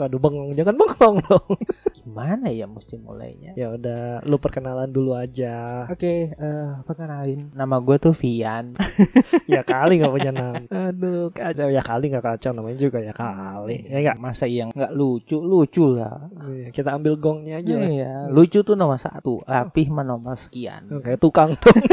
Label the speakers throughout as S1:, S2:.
S1: Waduh bengong, jangan bengong dong.
S2: Gimana ya mesti mulainya?
S1: ya udah, lu perkenalan dulu aja.
S2: Oke, eh perkenalin nama gue tuh Vian.
S1: ya kali nggak punya nama. Aduh kacau, ya kali nggak kacau namanya juga ya kali. Ya enggak.
S2: Masa yang nggak lucu, lucu lah.
S1: Kita ambil gongnya aja. lah.
S2: Iya, lucu tuh nomor satu, rapih mah nomor sekian.
S1: Oh, Kayak tukang dong.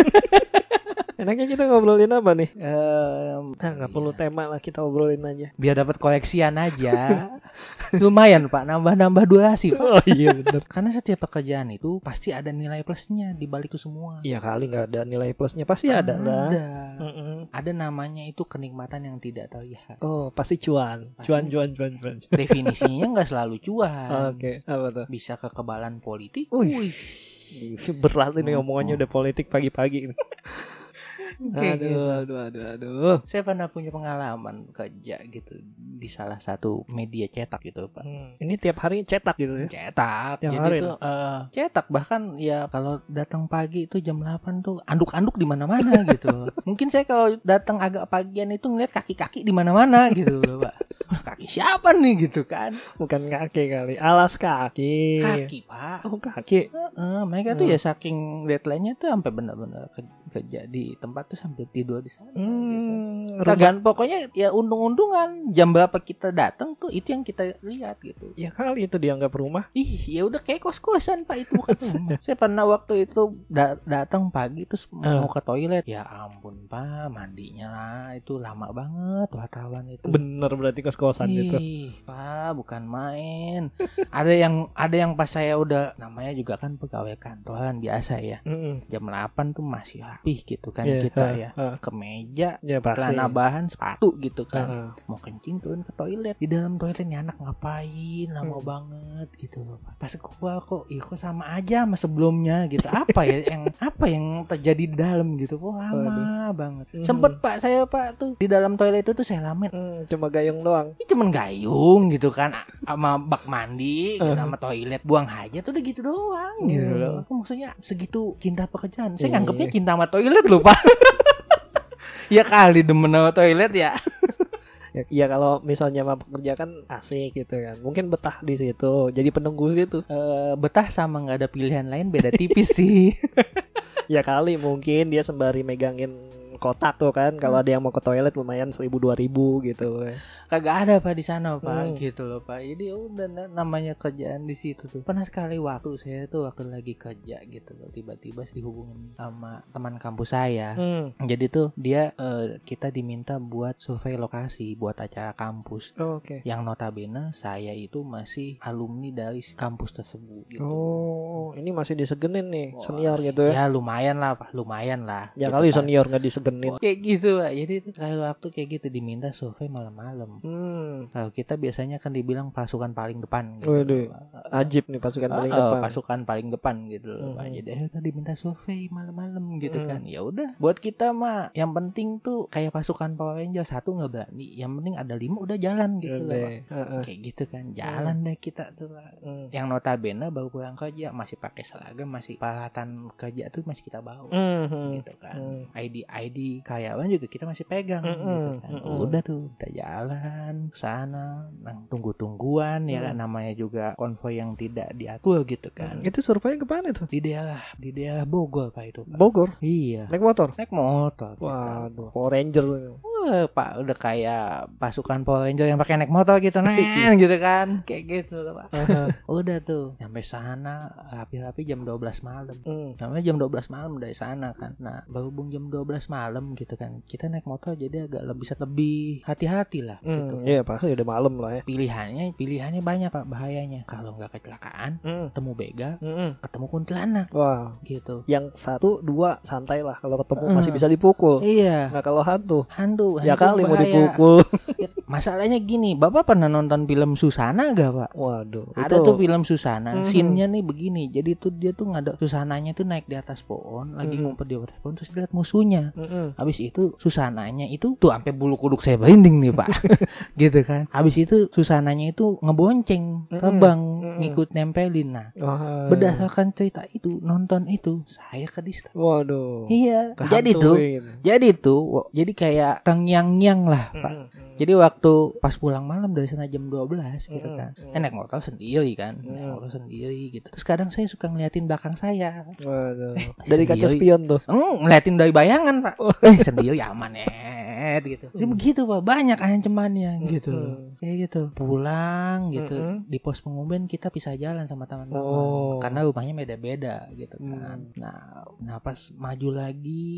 S1: Enaknya kita ngobrolin apa nih?
S2: Em,
S1: Nah, nggak perlu tema lah kita obrolin aja.
S2: biar dapat koleksian aja. Lumayan pak, nambah-nambah durasi pak.
S1: Oh iya bener.
S2: Karena setiap pekerjaan itu pasti ada nilai plusnya di balik itu semua.
S1: Iya kali nggak ada nilai plusnya pasti Iya, ada lah.
S2: Ada.
S1: Mm-mm.
S2: Ada namanya itu kenikmatan yang tidak terlihat.
S1: Oh pasti cuan, cuan cuan cuan cuan.
S2: Definisinya nggak selalu cuan.
S1: Oke apa tuh?
S2: Bisa kekebalan politik.
S1: Wih.
S2: Wih.
S1: Berat ini omongannya udah politik pagi-pagi. nih.
S2: Kayak gitu.
S1: Aduh aduh aduh aduh.
S2: Saya pernah punya pengalaman kerja gitu di salah satu media cetak gitu pak.
S1: Hmm, Ini tiap hari cetak gitu ya.
S2: Cetak,
S1: Tiap
S2: jadi
S1: hari
S2: tuh eh, cetak bahkan ya kalau datang pagi itu jam 8 tuh anduk-anduk di mana-mana gitu. Mungkin saya kalau datang agak pagian itu ngeliat kaki-kaki di mana-mana gitu loh pak. Wah, Kaki siapa nih gitu kan?
S1: Bukan kaki kali, alas kaki.
S2: Kaki Ah, gitu. pak.
S1: Oh kaki.
S2: Heeh, mereka
S1: Iya.
S2: tuh ya saking deadline-nya tuh sampai benar-benar ke- kerja di tempat tuh sampai tidur di sana gitu.
S1: Hmm, rumah-
S2: Kagan pokoknya ya untung-untungan jam berapa kita datang tuh itu yang kita lihat gitu.
S1: Ya kali itu dianggap rumah.
S2: Ih, ya udah kayak kos-kosan Pak itu bukan rumah. Saya pernah waktu itu da- datang pagi terus
S1: Eh.
S2: mau ke toilet. Ya ampun Pak, mandinya lah itu lama banget wartawan itu.
S1: Bener berarti kos-kosan itu.
S2: Hmm. Ih, Pak, bukan main. ada yang ada yang pas saya udah namanya juga kan pegawai kantoran biasa ya.
S1: Mm-mm.
S2: Jam 8 tuh masih rapih gitu kan
S1: Iya,
S2: kita
S1: ha,
S2: ya.
S1: ha.
S2: Ke meja,
S1: Ya pasti.
S2: celana bahan, sepatu gitu kan.
S1: Heeh.
S2: Mau kencing turun ke toilet. Di dalam toilet nih anak ngapain?
S1: Hmm.
S2: Lama banget gitu loh. Pak. Pas keluar kok, ih kok sama aja sama sebelumnya gitu. Apa ya yang apa yang terjadi di dalam gitu? Kok lama banget.
S1: Mhm.
S2: Sempet Pak saya Pak tuh di dalam toilet itu tuh saya lama
S1: Hmm, cuma gayung doang.
S2: ini cuman gayung gitu kan a- sama bak mandi gitu,
S1: Uh-huh.
S2: sama toilet buang hajat tuh udah gitu doang gitu
S1: Hmm.
S2: loh maksudnya segitu cinta pekerjaan saya
S1: Iya.
S2: nganggepnya cinta sama toilet loh pak ya kali demen sama toilet ya
S1: Ya, ya kalau misalnya sama pekerja kan asik gitu kan. Mungkin betah di situ. Jadi penunggu gitu. situ.
S2: Eh, betah sama nggak ada pilihan lain beda tipis sih
S1: Ya kali mungkin dia sembari megangin kotak tuh kan.
S2: Hmm.
S1: Kalau ada yang mau ke toilet lumayan seribu dua ribu gitu.
S2: kagak ada pak di sana pak
S1: Hmm.
S2: gitu loh pak jadi udah na- namanya kerjaan di situ tuh pernah sekali waktu saya tuh waktu lagi kerja gitu loh tiba-tiba dihubungin sama teman kampus saya
S1: Hmm.
S2: Jadi tuh dia eh, kita diminta buat survei lokasi buat acara kampus.
S1: Oh, Oke.
S2: Yang notabene saya itu masih alumni dari kampus tersebut gitu.
S1: Oh, ini masih disegenin nih
S2: Wah,
S1: senior gitu ya.
S2: Ya lumayan lah, Pak. lumayan lah.
S1: Ya
S2: Gitu
S1: kali
S2: kan.
S1: senior nggak disegenin.
S2: Wah, Kayak gitu, Pak. Jadi tuh kalau waktu kayak gitu diminta survei malam-malam.
S1: Hmm.
S2: Kalau kita biasanya kan dibilang pasukan paling depan gitu.
S1: Waduh.
S2: Pak.
S1: Ajib nih pasukan paling
S2: Ah, ah,
S1: depan.
S2: pasukan paling depan gitu loh Pak.
S1: Mhm.
S2: Jadi eh, tadi minta survei malam-malam gitu
S1: Mhm.
S2: kan. Ya udah, buat kita mah yang penting tuh kayak pasukan Power Ranger satu nggak berani, yang penting ada lima udah jalan gitu loh Pak.
S1: Gede. Heeh.
S2: Kayak gitu kan, jalan deh kita tuh Pak.
S1: Hmm.
S2: Yang notabene baru pulang kerja masih pakai seragam, masih peralatan kerja tuh masih kita bawa
S1: Mhm.
S2: gitu kan.
S1: Hmm.
S2: ID ID karyawan juga kita masih pegang
S1: Mm-mm,
S2: gitu kan.
S1: mm-mm.
S2: Udah tuh kita jalan ke sana, nah, tunggu-tungguan ya kan
S1: Hmm.
S2: namanya juga konvoy yang tidak diatur gitu kan.
S1: Itu survei kemana tuh?
S2: Di daerah di daerah Bogor Pak itu. Pak.
S1: Bogor.
S2: Iya.
S1: Naik motor.
S2: Naik motor kita.
S1: Waduh, Power Ranger. lu.
S2: Wah, Pak udah kayak pasukan Power Ranger yang pakai naik motor gitu nen gitu kan. Kayak gitu loh, Pak. Udah tuh sampai sana rapi-rapi jam 12 malam.
S1: Hmm.
S2: Sampai jam 12 malam dari sana kan. Nah, berhubung jam 12 malam gitu kan. Kita naik motor jadi agak lebih bisa lebih hati-hati lah
S1: Hmm,
S2: gitu.
S1: Iya pasti udah malam lah ya.
S2: Pilihannya pilihannya banyak Pak bahayanya. Kalau nggak kecelakaan,
S1: Hmm.
S2: ketemu begal,
S1: Mm-mm.
S2: ketemu kuntilanak
S1: Wah,
S2: gitu.
S1: yang satu dua santai lah kalau ketemu
S2: Eh.
S1: masih bisa dipukul.
S2: Iya.
S1: Nah kalau hantu,
S2: Hantu,
S1: ya
S2: hantu
S1: kali mau
S2: bahaya.
S1: dipukul.
S2: Masalahnya gini, Bapak pernah nonton film Susana gak, Pak?
S1: Waduh,
S2: Ada tuh film Susana,
S1: Mhm.
S2: scene-nya nih begini. Jadi tuh dia tuh ngada Susananya tuh naik di atas pohon, lagi
S1: Mhm.
S2: ngumpet di atas pohon terus lihat musuhnya.
S1: Mm-mm.
S2: Habis itu Susananya itu tuh sampai bulu kuduk saya berinding nih, Pak. gitu kan. Habis itu Susananya itu ngebonceng,
S1: Mhm.
S2: terbang,
S1: Mhm.
S2: ngikut nempelin. Nah,
S1: Wah.
S2: berdasarkan cerita itu, nonton itu, saya ke distrik.
S1: Waduh.
S2: Iya, jadi tuh
S1: Kehantuin.
S2: jadi tuh wo- jadi kayak tengyang-nyang lah, Pak.
S1: Mm-mm.
S2: Jadi waktu pas pulang malam dari sana jam 12 gitu
S1: Mm,
S2: kan.
S1: mm.
S2: Enak motor sendiri kan.
S1: Mm.
S2: Naik motor sendiri gitu. Terus kadang saya suka ngeliatin belakang saya.
S1: Waduh. Dari
S2: sendiri.
S1: kaca spion tuh.
S2: Eng, ngeliatin dari bayangan, Pak.
S1: Oh.
S2: Eh, sendiri aman ya gitu. Jadi
S1: Mm.
S2: begitu, Pak. Banyak ancamannya gitu.
S1: Mm.
S2: Kayak gitu. Pulang gitu.
S1: Mm-mm.
S2: Di pos pengumben kita pisah jalan sama teman-teman
S1: Oh.
S2: karena rumahnya beda-beda gitu kan.
S1: Mm.
S2: Nah, nah pas maju lagi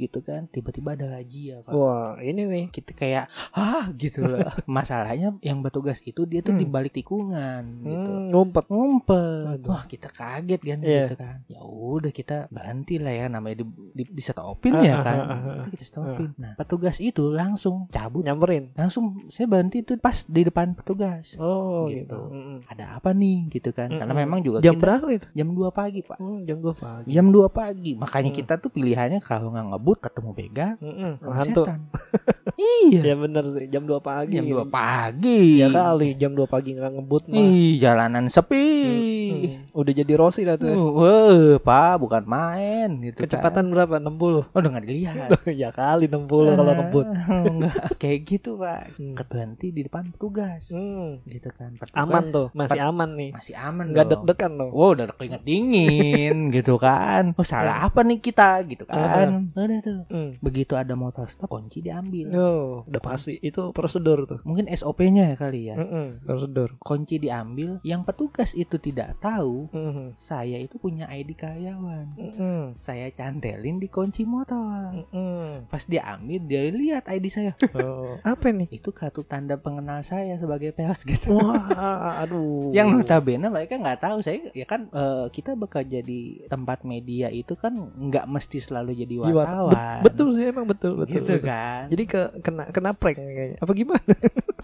S2: gitu kan, tiba-tiba ada razia, Pak. Eh,
S1: Wah, ini nih.
S2: kita kayak ah gitu loh masalahnya yang bertugas itu dia tuh
S1: Hmm.
S2: di balik tikungan gitu
S1: Hmm, ngumpet.
S2: ngumpet
S1: Aduh.
S2: wah kita kaget kan
S1: Iya.
S2: gitu kan ya udah kita berhenti lah ya namanya di, di, di stopin
S1: Ah,
S2: ya
S1: ah,
S2: kan
S1: ah, ah,
S2: itu kita stopin nah petugas itu langsung cabut
S1: Nyamperin.
S2: langsung saya berhenti tuh pas di depan petugas
S1: Oh,
S2: Gitu.
S1: gitu. Mm-mm.
S2: ada apa nih gitu kan karena
S1: Mm-mm.
S2: memang juga
S1: Jam
S2: kita
S1: berapa itu?
S2: jam 2 pagi pak
S1: Hmm, jam 2 pagi.
S2: jam 2 pagi makanya
S1: Hmm.
S2: kita tuh pilihannya kalau nggak ngebut ketemu begal
S1: Mm-mm,
S2: sama
S1: Hmm, Hantu.
S2: setan iya
S1: Ya bener sih, jam 2 pagi.
S2: jam 2 pagi
S1: iya. Ya kali, jam 2 pagi nggak ngebut mah.
S2: Ih, jalanan sepi.
S1: Hmm, Udah jadi Rossi dah
S2: Uh,
S1: tuh.
S2: Wah, Pak, bukan main gitu
S1: Kecepatan berapa? 60.
S2: kan. Oh, udah nggak dilihat.
S1: ya kali 60
S2: Ah.
S1: kalau ngebut.
S2: Enggak, kayak gitu, Pak.
S1: Hmm.
S2: Keberhenti di depan petugas.
S1: Hmm,
S2: Gitu kan. Petugas
S1: Aman tuh, masih aman nih.
S2: Masih aman
S1: Nggak
S2: dong.
S1: deg-degan dong.
S2: Wow, udah keringet dingin gitu kan. Oh, salah apa nih kita gitu kan. Udah tuh.
S1: Hmm.
S2: Begitu ada motor stop, kunci diambil.
S1: Oh, udah pasti itu prosedur tuh.
S2: Mungkin SOP-nya ya kali ya.
S1: Mm-mm, prosedur.
S2: Kunci diambil, yang petugas itu tidak tahu
S1: Mm-mm.
S2: saya itu punya ID karyawan.
S1: Mm-mm.
S2: saya cantelin di kunci motor
S1: Mm-mm.
S2: pas dia ambil dia lihat ID saya
S1: Oh, apa nih?
S2: itu kartu tanda pengenal saya sebagai pers gitu
S1: Oh. Wah, aduh.
S2: yang notabene mereka nggak tahu saya ya kan eh, kita bekerja di tempat media itu kan nggak mesti selalu jadi
S1: Iya,
S2: wartawan
S1: bet- betul sih emang betul betul.
S2: gitu
S1: betul.
S2: kan
S1: Jadi ke kena kena prank kayaknya. Apa gimana?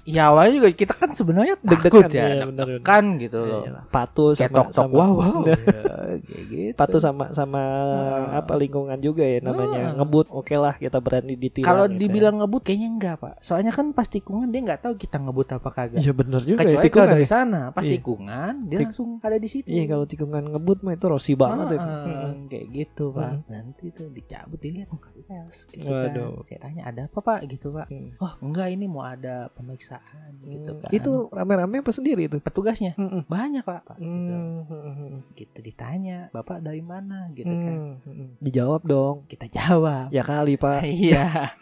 S2: ya awalnya juga kita kan sebenarnya
S1: Deg-degan,
S2: takut ya
S1: iya, benar,
S2: deg-degan gitu loh
S1: Iyalah, Patuh sama
S2: cetok sok
S1: sama
S2: wow wow Ya, kayak gitu
S1: patuh sama sama
S2: Ah.
S1: apa lingkungan juga ya namanya.
S2: Ah.
S1: Ngebut oke lah kita berani ditilang.
S2: kalau
S1: gitu ya.
S2: dibilang ngebut kayaknya enggak pak soalnya kan pas tikungan dia nggak tahu kita ngebut apa kagak
S1: Iya bener juga ya,
S2: kecuali
S1: tikungan
S2: kalau dari
S1: ya.
S2: sana pas
S1: Iya.
S2: tikungan dia
S1: Tik-
S2: langsung ada di situ
S1: Iya kalau tikungan ngebut mah itu rosi banget itu.
S2: Ah,
S1: Mm-mm.
S2: kayak gitu pak
S1: Mm.
S2: nanti tuh dicabut dilihat oh, kartu pers gitu
S1: Waduh.
S2: kan saya tanya ada apa pak gitu pak
S1: Hmm.
S2: oh enggak ini mau ada pemeriksaan gitu
S1: Hmm,
S2: kan
S1: Itu rame-rame apa sendiri itu?
S2: petugasnya
S1: Mm-mm.
S2: banyak pak, Pak, gitu.
S1: Hmm.
S2: gitu ditanya bapak dari mana gitu kan
S1: Hmm. Dijawab dong.
S2: kita jawab
S1: Ya kali pak.
S2: Iya,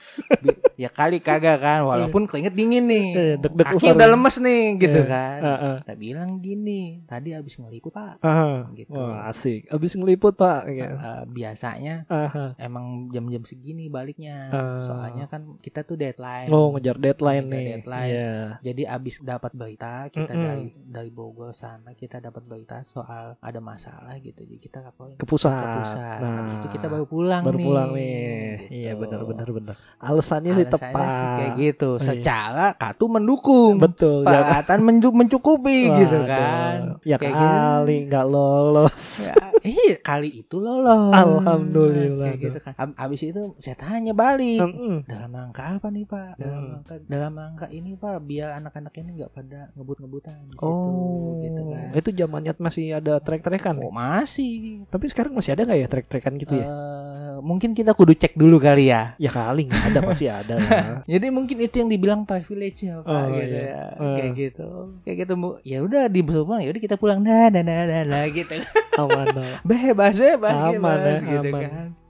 S2: Bi- ya kali kagak kan, walaupun keringet dingin
S1: Iya,
S2: nih,
S1: deg-deg
S2: kaki
S1: ular.
S2: udah lemes nih, gitu
S1: Iya.
S2: kan.
S1: Heeh.
S2: Kita bilang gini, tadi abis ngeliput pak,
S1: Aha.
S2: Gitu.
S1: Wah asik. Abis ngeliput pak. Ya.
S2: Eh, biasanya
S1: Aha.
S2: emang jam-jam segini baliknya.
S1: Ah.
S2: Soalnya kan kita tuh deadline.
S1: Oh ngejar deadline
S2: Ngejar
S1: nih.
S2: deadline.
S1: Iya.
S2: Jadi abis dapat berita kita
S1: Mm-mm.
S2: dari dari Bogor sana kita dapat berita soal ada masalah gitu. Jadi kita laporin
S1: Ke pusat.
S2: ke pusat.
S1: Nah,
S2: Habis itu kita baru pulang
S1: baru
S2: nih. Gitu.
S1: pulang nih. Iya benar benar benar. Alasannya sih tepat.
S2: kayak gitu.
S1: Iya.
S2: Secara kartu mendukung.
S1: Betul. ya.
S2: Peralatan mencu- mencukupi gitu
S1: Waduh.
S2: kan.
S1: Ya
S2: Kayak gitu.
S1: kali nggak lolos.
S2: Ya, iya kali itu lolos.
S1: Alhamdulillah Hmm.
S2: Kayak gitu kan. Ab- Abis itu saya tanya balik.
S1: Mm-mm.
S2: dalam angka apa nih pak dalam
S1: Hmm.
S2: angka dalam angka ini pak biar anak-anak ini nggak pada ngebut-ngebutan di situ
S1: Oh,
S2: gitu kan
S1: itu zamannya masih ada trek-trekan.
S2: oh, masih
S1: Tapi sekarang masih ada nggak ya trek-trekan gitu ya?
S2: Eh, mungkin kita kudu cek dulu kali ya
S1: Ya kali nggak ada pasti ada. lah.
S2: jadi mungkin itu yang dibilang privilege ya pak
S1: Oh,
S2: gitu
S1: iya.
S2: ya kayak gitu kayak gitu Bu. ya udah di pulang ya udah kita pulang dah dah dah dah, dah, gitu
S1: Aman. lah.
S2: bebas bebas
S1: Aman
S2: bebas
S1: ya,
S2: gitu
S1: aman.
S2: kan